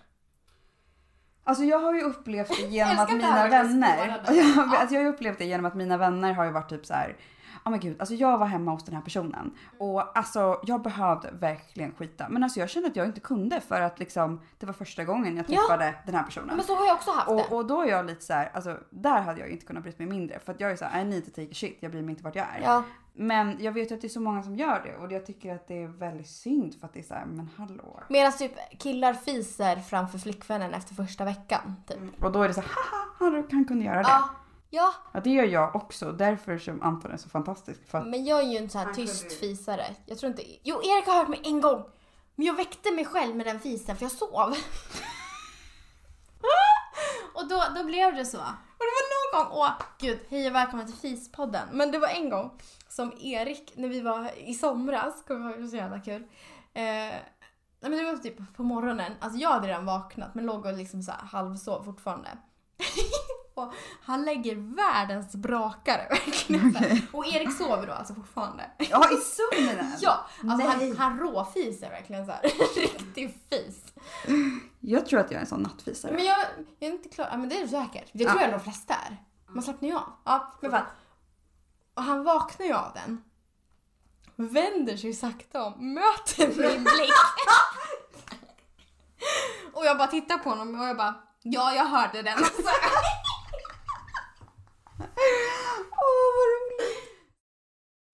[SPEAKER 2] Alltså jag har ju upplevt det genom
[SPEAKER 1] Älskar att
[SPEAKER 2] att
[SPEAKER 1] det
[SPEAKER 2] mina
[SPEAKER 1] här verkar
[SPEAKER 2] vänner...
[SPEAKER 1] svårare.
[SPEAKER 2] alltså jag har ju upplevt det genom att mina vänner har ju varit typ så här. oh men gud, alltså jag var hemma hos den här personen och alltså jag behövde verkligen skita. Men alltså jag kände att jag inte kunde för att liksom det var första gången jag
[SPEAKER 1] Ja.
[SPEAKER 2] träffade den här personen.
[SPEAKER 1] Men så har jag också haft det.
[SPEAKER 2] Och, och då är jag lite så här, alltså där hade jag inte kunnat bryta mig mindre för att jag är så här, I need to take a shit, jag bryr mig inte vart jag är.
[SPEAKER 1] Ja.
[SPEAKER 2] Men jag vet ju att det är så många som gör det och jag tycker att det är väldigt synd för att det är så här, men hallå.
[SPEAKER 1] Medan typ killar fiser framför flickvännen efter första veckan. Typ.
[SPEAKER 2] Och då är det så här, haha, han, han kunde göra det.
[SPEAKER 1] Ja. Ja,
[SPEAKER 2] Mm. Ja, det gör jag också. Därför som Anton är så fantastisk. För att,
[SPEAKER 1] men jag är ju en sån här
[SPEAKER 2] Han kunde
[SPEAKER 1] tyst
[SPEAKER 2] ju-
[SPEAKER 1] fisare. Jag tror inte... Jo, Erik har hört mig en gång. Men jag väckte mig själv med den fisen för jag sov. och då, då blev det så. Och det var någon gång, åh gud, hej och välkomna till Fispodden. Men det var en gång som Erik, när vi var i somras, kommer jag ihåg, så jävla kul. Eh, nej, men det var typ på morgonen, alltså jag hade redan vaknat men låg och liksom så här halvsov fortfarande. och han lägger världens brakare verkligen. så här. Och Erik sover då alltså fortfarande.
[SPEAKER 2] ja, i zonen!
[SPEAKER 1] Ja, alltså
[SPEAKER 2] Nej.
[SPEAKER 1] han, han råfiser verkligen så här. Riktig fis.
[SPEAKER 2] Jag tror att jag är en sån nattfisare.
[SPEAKER 1] Men jag, jag är inte klar. Ja, men det är du säkert. Det tror jag de flesta är. Man slappnar ju av. Ja, men fan. Och han vaknar ju av den. Vänder sig sakta om, möter min blick. och jag bara tittar på honom och jag bara, ja jag hörde den. Alltså. Så här.
[SPEAKER 2] Åh, vad roligt!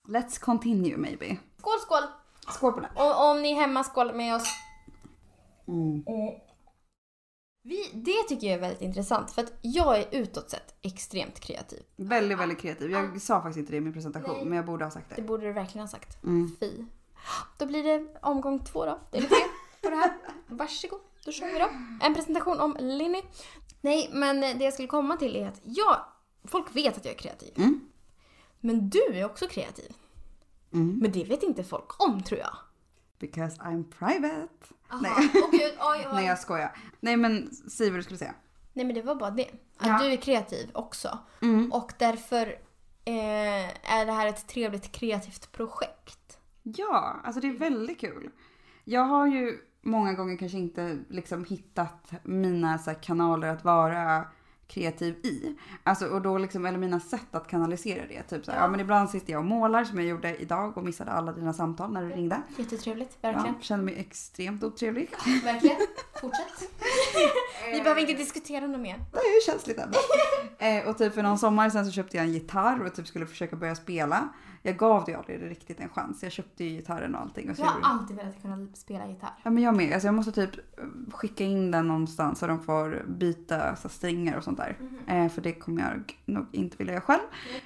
[SPEAKER 2] Let's continue maybe.
[SPEAKER 1] Skål, skål!
[SPEAKER 2] Skål på det.
[SPEAKER 1] Och om ni är hemma, skål med oss.
[SPEAKER 2] Mm. Eh,
[SPEAKER 1] Vi, det tycker jag är väldigt intressant för att jag är utåt sett extremt kreativ.
[SPEAKER 2] Väldigt, väldigt kreativ. Jag sa faktiskt inte det i min presentation,
[SPEAKER 1] Nej.
[SPEAKER 2] men jag borde ha sagt
[SPEAKER 1] Det
[SPEAKER 2] det.
[SPEAKER 1] borde du verkligen ha sagt.
[SPEAKER 2] Mm.
[SPEAKER 1] Fy. Då blir det omgång två då. Eller tre på det här. Varsågod, då kör vi då. En presentation om Linny. Nej, men det jag skulle komma till är att jag... Folk vet att jag är kreativ.
[SPEAKER 2] Mm.
[SPEAKER 1] Men du är också kreativ.
[SPEAKER 2] Mm.
[SPEAKER 1] Men det vet inte folk om tror jag.
[SPEAKER 2] Because I'm private. Nej.
[SPEAKER 1] Åh gud, oj,
[SPEAKER 2] Nej, jag skojar. Nej, men säg vad du skulle säga.
[SPEAKER 1] Nej men det var bara det. Att
[SPEAKER 2] Ja.
[SPEAKER 1] du är kreativ också.
[SPEAKER 2] Mm.
[SPEAKER 1] Och därför eh, är det här ett trevligt kreativt projekt.
[SPEAKER 2] Ja, alltså det är
[SPEAKER 1] Mm.
[SPEAKER 2] väldigt kul. Jag har ju många gånger kanske inte liksom hittat mina så här, kanaler att vara kreativ i. Alltså, och då liksom, eller mina sätt att kanalisera det. Typ så här, ja. men ibland sitter jag och målar som jag gjorde idag och missade alla dina samtal när du ringde.
[SPEAKER 1] Jättetrevligt,
[SPEAKER 2] Ja,
[SPEAKER 1] verkligen.
[SPEAKER 2] kände mig extremt otrevlig.
[SPEAKER 1] Verkligen. Fortsätt. Vi behöver inte diskutera något mer.
[SPEAKER 2] Det är ju känsligt ändå. Eh, och typ för någon sommar sen så köpte jag en gitarr och typ skulle försöka börja spela. Jag gav det ju aldrig riktigt en chans. Jag köpte ju gitarren och allting. Och så
[SPEAKER 1] Jag har
[SPEAKER 2] gjorde-
[SPEAKER 1] alltid velat kunna spela gitarr.
[SPEAKER 2] Ja men jag med. Alltså jag måste typ skicka in den någonstans så de får byta så här, strängar och sånt där.
[SPEAKER 1] Mhm.
[SPEAKER 2] Eh, för det kommer jag nog inte vilja göra själv.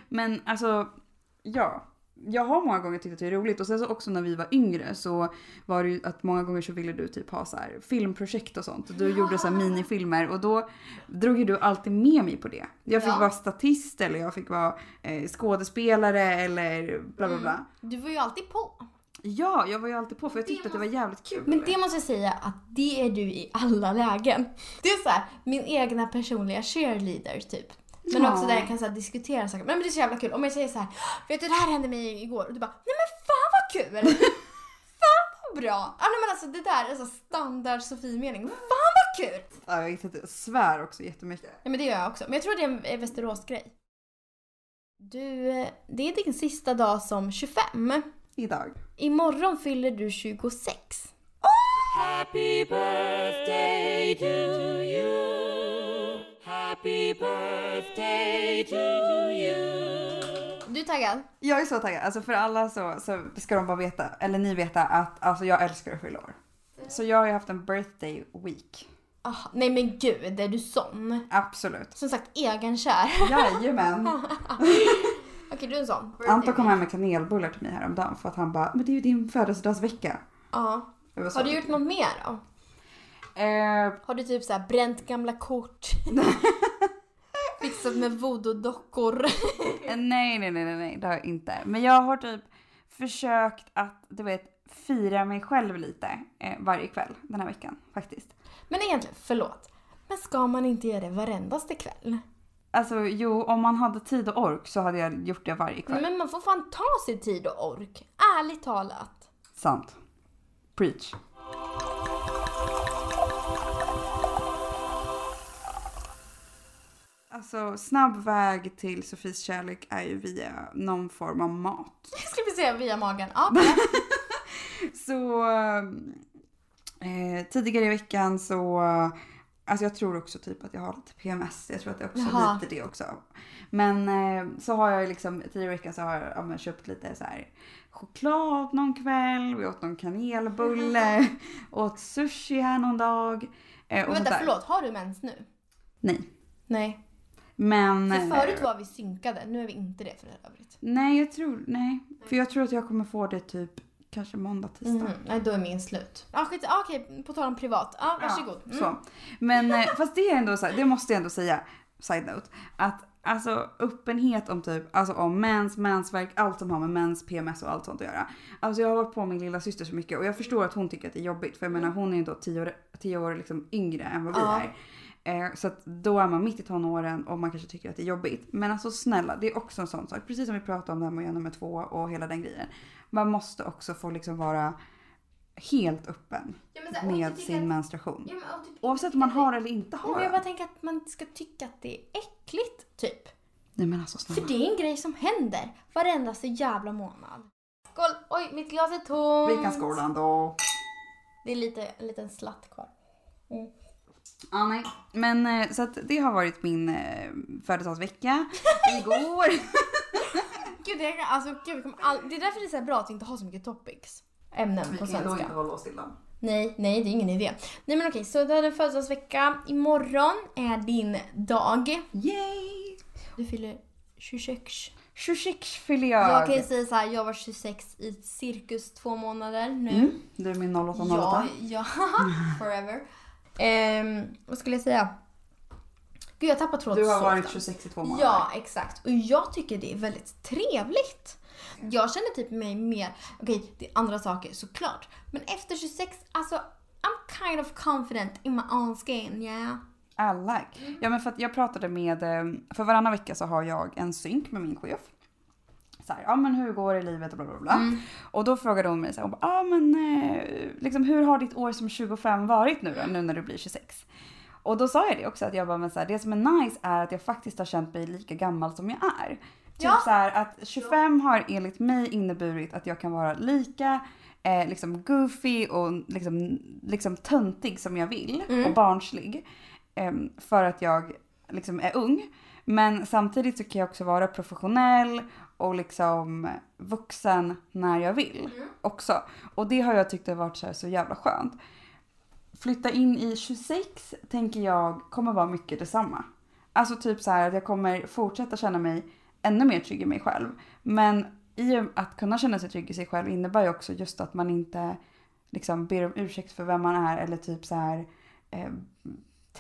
[SPEAKER 2] Men alltså, ja. Jag har många gånger tyckt att det är roligt och sen så också när vi var yngre så var det ju att många gånger så ville du typ ha så här filmprojekt och sånt. Du gjorde så här minifilmer och då drog ju du alltid med mig på det. Jag fick
[SPEAKER 1] Ja.
[SPEAKER 2] vara statist eller jag fick vara eh, skådespelare eller bla bla bla.
[SPEAKER 1] Du var ju alltid på.
[SPEAKER 2] Ja, jag var ju alltid på för jag
[SPEAKER 1] Det
[SPEAKER 2] tyckte att det var jävligt kul.
[SPEAKER 1] Men det måste jag säga att det är du i alla lägen. Det är så här, min egna personliga cheerleader typ. Men
[SPEAKER 2] Ja.
[SPEAKER 1] också där jag kan så här, diskutera saker. Men det är så jävla kul. Om jag säger så här, vet du det här hände mig igår. Och du bara, nej men fan vad kul! fan vad bra! Ja, nej, men alltså det där är så standard Sofie-mening. Fan vad kul!
[SPEAKER 2] Ja, jag vet inte, jag svär också jättemycket.
[SPEAKER 1] Ja, men det gör jag också. Men jag tror det är en eh, Västerås-grej. Du, eh, det är din sista dag som 25.
[SPEAKER 2] Idag.
[SPEAKER 1] Imorgon fyller du 26.
[SPEAKER 3] Happy birthday to you. Happy birthday to you.
[SPEAKER 1] Du är taggad?
[SPEAKER 2] Jag är så taggad. Alltså för alla så, så ska de bara veta, eller ni veta att alltså jag älskar att fylla år. Så jag har ju haft en birthday week.
[SPEAKER 1] Ah, nej men gud, är du sån?
[SPEAKER 2] Absolut.
[SPEAKER 1] Som sagt, egenkär.
[SPEAKER 2] Jajamän.
[SPEAKER 1] Okej, du är en sån.
[SPEAKER 2] Anton kom hem med kanelbullar till mig häromdagen för att han bara, men det är ju din födelsedagsvecka.
[SPEAKER 1] Ja.
[SPEAKER 2] Jag var så-
[SPEAKER 1] Har du gjort något mer då?
[SPEAKER 2] Eh,
[SPEAKER 1] Har du typ så här bränt gamla kort? Fixat med voodoo-dockor?
[SPEAKER 2] Eh, Nej, nej, nej, nej, nej, det har jag inte. Men jag har typ försökt att, du vet, fira mig själv lite eh, varje kväll den här veckan faktiskt.
[SPEAKER 1] men egentligen, förlåt. Men ska man inte göra det varendaste kväll?
[SPEAKER 2] Alltså jo, om man hade tid och ork så hade jag gjort det varje kväll.
[SPEAKER 1] Men man får fan ta sig tid och ork. Ärligt talat.
[SPEAKER 2] Sant. Preach. Alltså snabb väg till Sofies kärlek är ju via någon form av mat.
[SPEAKER 1] Jag skulle vilja säga via magen. Ja,
[SPEAKER 2] Så eh, tidigare i veckan så, alltså jag tror också typ att jag har lite PMS. Jag tror att det är också
[SPEAKER 1] Jaha.
[SPEAKER 2] lite det också. Men eh, så har jag liksom, tidigare i veckan så har jag ja, men, köpt lite så här choklad någon kväll, vi åt någon kanelbulle, åt sushi här någon dag. Eh, och
[SPEAKER 1] men
[SPEAKER 2] sånt
[SPEAKER 1] vänta,
[SPEAKER 2] där.
[SPEAKER 1] förlåt. Har du mens nu?
[SPEAKER 2] Nej.
[SPEAKER 1] Nej.
[SPEAKER 2] Men...
[SPEAKER 1] För
[SPEAKER 2] eh,
[SPEAKER 1] förut var vi synkade. Nu är vi inte det för övrigt.
[SPEAKER 2] Nej, jag tror... Nej. För jag tror att jag kommer få det typ kanske måndag, tisdag.
[SPEAKER 1] Mhm, Nej, då är min slut. Ah, skit, ah, okej, på tal om privat. Ah, varsågod. Mm.
[SPEAKER 2] Så. Men eh, fast det är ändå så här, det måste jag ändå säga, side-note, att alltså öppenhet om typ, alltså om mens, mensvärk, allt som har med mens, PMS och allt sånt att göra. Alltså jag har varit på min lilla syster så mycket och jag förstår att hon tycker att det är jobbigt för jag menar hon är ju då tio år, tio år liksom yngre än vad vi
[SPEAKER 1] Mm. Ja.
[SPEAKER 2] är. Eh, Så att då är man mitt i tonåren och man kanske tycker att det är jobbigt. Men alltså snälla, det är också en sån sak. Precis som vi pratade om det här med att göra nummer två och hela den grejen. Man måste också få liksom vara helt öppen
[SPEAKER 1] Ja, men så här, om du
[SPEAKER 2] med
[SPEAKER 1] tycker
[SPEAKER 2] sin
[SPEAKER 1] att-
[SPEAKER 2] menstruation.
[SPEAKER 1] Ja, men om du-
[SPEAKER 2] Oavsett om man har eller inte har
[SPEAKER 1] Men jag
[SPEAKER 2] den.
[SPEAKER 1] bara tänker att man inte ska tycka att det är äckligt, typ.
[SPEAKER 2] Nej men alltså
[SPEAKER 1] För
[SPEAKER 2] snälla.
[SPEAKER 1] det är en grej som händer varenda så jävla månad. Skål! Oj, mitt glas är tomt.
[SPEAKER 2] Vi kan skåla ändå.
[SPEAKER 1] Det är lite, en liten slatt kvar.
[SPEAKER 2] Ja, nej. Men eh, så att det har varit min eh, födelsedagsvecka. Igår.
[SPEAKER 1] Gud, jag, kan- alltså, gud, jag kommer all... det är därför det är så här bra att inte ha så mycket topics. Ämnen på svenska.
[SPEAKER 2] hålla oss stilla.
[SPEAKER 1] Nej, nej, det är ingen idé. Nej men okej, så du hade en födelsedagsvecka. Imorgon är din dag.
[SPEAKER 2] Yay!
[SPEAKER 1] Du fyller 26.
[SPEAKER 2] 26 fyller jag.
[SPEAKER 1] Jag kan ju säga så här, jag var 26 i cirkus två månader nu.
[SPEAKER 2] Mm, Du är min 0808.
[SPEAKER 1] Ja, ja. Forever. Ehm, vad skulle jag säga? Gud, jag tappar tråden
[SPEAKER 2] Du har
[SPEAKER 1] så
[SPEAKER 2] varit
[SPEAKER 1] ofta.
[SPEAKER 2] 26 i två månader.
[SPEAKER 1] Ja, exakt. Och jag tycker det är väldigt trevligt. Jag känner typ mig mer, okej det är andra saker såklart. Men efter 26, alltså I'm kind of confident in my own skin, yeah.
[SPEAKER 2] Alla. Ja men för att jag pratade med, eh, för varannan vecka så har jag en synk med min chef. Så här, ja men hur går det i livet och bla bla bla. Och då frågade hon mig så här, hon bara, ja men eh, liksom hur har ditt år som 25 varit nu då, nu när du blir 26? Och då sa jag det också att jag bara, men så här, det som är nice är att jag faktiskt har känt mig lika gammal som jag är. Typ
[SPEAKER 1] Ja.
[SPEAKER 2] så här att 25 har enligt mig inneburit att jag kan vara lika eh, liksom goofy och liksom, liksom töntig som jag vill och barnslig. em, Ehm, för att jag liksom är ung. Men samtidigt så kan jag också vara professionell och liksom vuxen när jag vill också. Och det har jag tyckt har varit så, här så jävla skönt. Flytta in i 26 tänker jag kommer vara mycket detsamma. Alltså typ så här att jag kommer fortsätta känna mig ännu mer trygg i mig själv. Men i och- att kunna känna sig trygg i sig själv innebär ju också just att man inte liksom ber om ursäkt för vem man är eller typ så här eh,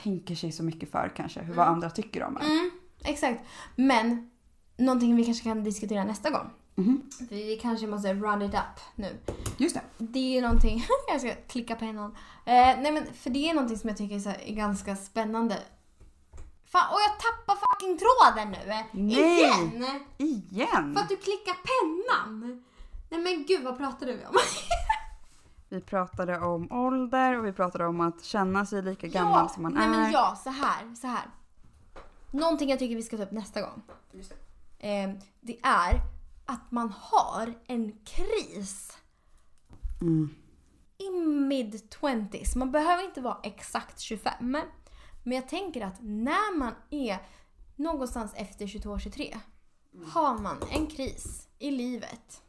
[SPEAKER 2] tänker sig så mycket för kanske hur vad andra tycker om en.
[SPEAKER 1] Mm, exakt. Men någonting vi kanske kan diskutera nästa gång.
[SPEAKER 2] Mhm.
[SPEAKER 1] För vi kanske måste run it up nu.
[SPEAKER 2] Just det.
[SPEAKER 1] Det är ju någonting, jag ska klicka på pennan. Eh, nej men för det är någonting som jag tycker är, så här, är ganska spännande. Fan, och jag tappar fucking tråden nu! eh,
[SPEAKER 2] Nej.
[SPEAKER 1] Igen!
[SPEAKER 2] Igen!
[SPEAKER 1] För att du klickar pennan! Nej men gud, vad pratade vi om?
[SPEAKER 2] Vi pratade om ålder och vi pratade om att känna sig lika gammal som man
[SPEAKER 1] nej,
[SPEAKER 2] är.
[SPEAKER 1] men ja, så här, så här. Någonting jag tycker vi ska ta upp nästa gång.
[SPEAKER 2] Just det.
[SPEAKER 1] Eh, det är att man har en kris.
[SPEAKER 2] Mm.
[SPEAKER 1] i mid 20s. Man behöver inte vara exakt 25. Men jag tänker att när man är någonstans efter 22-23
[SPEAKER 2] Mm.
[SPEAKER 1] har man en kris i livet.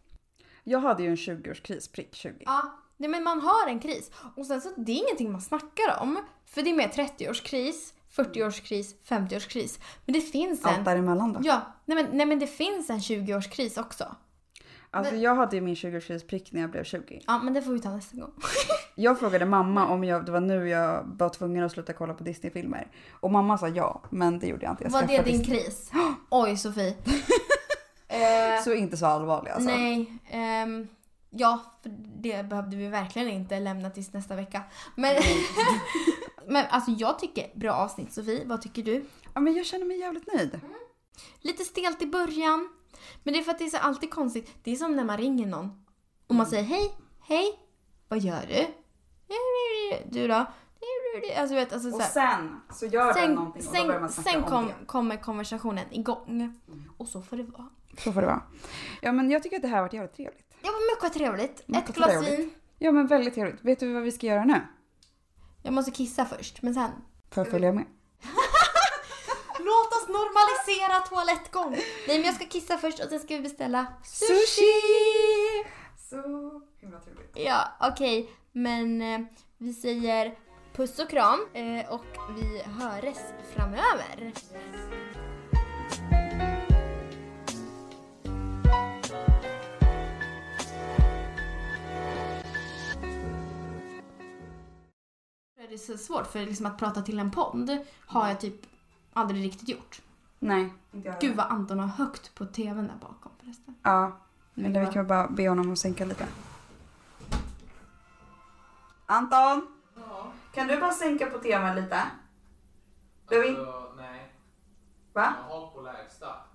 [SPEAKER 2] Jag hade ju en 20-årskris, prick 20.
[SPEAKER 1] Ja, nej men man har en kris. Och sen så det är ingenting man snackar om. För det är mer 30-årskris, 40-årskris, 50-årskris. Men det finns
[SPEAKER 2] Allt
[SPEAKER 1] en...
[SPEAKER 2] däremellan då.
[SPEAKER 1] Ja, nej men, nej men det finns en 20-årskris också.
[SPEAKER 2] Alltså jag hade ju min 20-årskris prick när jag blev 20.
[SPEAKER 1] Ja, men det får vi ta nästa gång.
[SPEAKER 2] Jag frågade mamma om jag, det var nu jag var tvungen att sluta kolla på Disney-filmer. Och mamma sa ja, men det gjorde jag inte. Jag
[SPEAKER 1] Var det
[SPEAKER 2] skaffade
[SPEAKER 1] din
[SPEAKER 2] Disney.
[SPEAKER 1] kris? Oj, Sofie. Eh,
[SPEAKER 2] Så inte så allvarlig alltså.
[SPEAKER 1] Nej. ehm, ja, för det behövde vi verkligen inte lämna tills nästa vecka. Men, men alltså jag tycker bra avsnitt Sofie. Vad tycker du?
[SPEAKER 2] Ja, men jag känner mig jävligt nöjd.
[SPEAKER 1] Mm. Lite stelt i början. Men det är för att det är så alltid konstigt. Det är som när man ringer någon
[SPEAKER 2] Mm.
[SPEAKER 1] och man säger hej, hej, vad gör du? Du då? du det? Alltså, du vet, alltså, så
[SPEAKER 2] Och
[SPEAKER 1] här,
[SPEAKER 2] sen så gör den
[SPEAKER 1] sen
[SPEAKER 2] någonting och då börjar man
[SPEAKER 1] sen,
[SPEAKER 2] snacka
[SPEAKER 1] sen
[SPEAKER 2] om
[SPEAKER 1] kom,
[SPEAKER 2] det. Mm.
[SPEAKER 1] kommer konversationen igång. Och så får det vara.
[SPEAKER 2] Så får det vara. Ja men jag tycker att det här har varit jävligt trevligt.
[SPEAKER 1] Det var mycket trevligt.
[SPEAKER 2] Mycket
[SPEAKER 1] Ett glas
[SPEAKER 2] trevligt.
[SPEAKER 1] vin.
[SPEAKER 2] Ja men väldigt trevligt. Vet du vad vi ska göra nu?
[SPEAKER 1] Jag måste kissa först, men sen.
[SPEAKER 2] Får jag följa med?
[SPEAKER 1] Låt oss normalisera toalettgång. Nej, men jag ska kissa först och sen ska vi beställa
[SPEAKER 2] Sushi! Så himla trevligt.
[SPEAKER 1] Ja, okej. Men eh, vi säger puss och kram eh, och vi höres framöver. Det är så svårt för liksom att prata till en podd har jag typ aldrig riktigt gjort.
[SPEAKER 2] Nej.
[SPEAKER 1] Gud vad Anton har högt på tvn där bakom förresten.
[SPEAKER 2] Ja.
[SPEAKER 1] Men
[SPEAKER 2] Eller vi kan bara be honom att sänka lite. Anton! Kan du bara sänka på temat lite?
[SPEAKER 4] Alltså, nej. Jag
[SPEAKER 2] Va?
[SPEAKER 4] har på lägsta.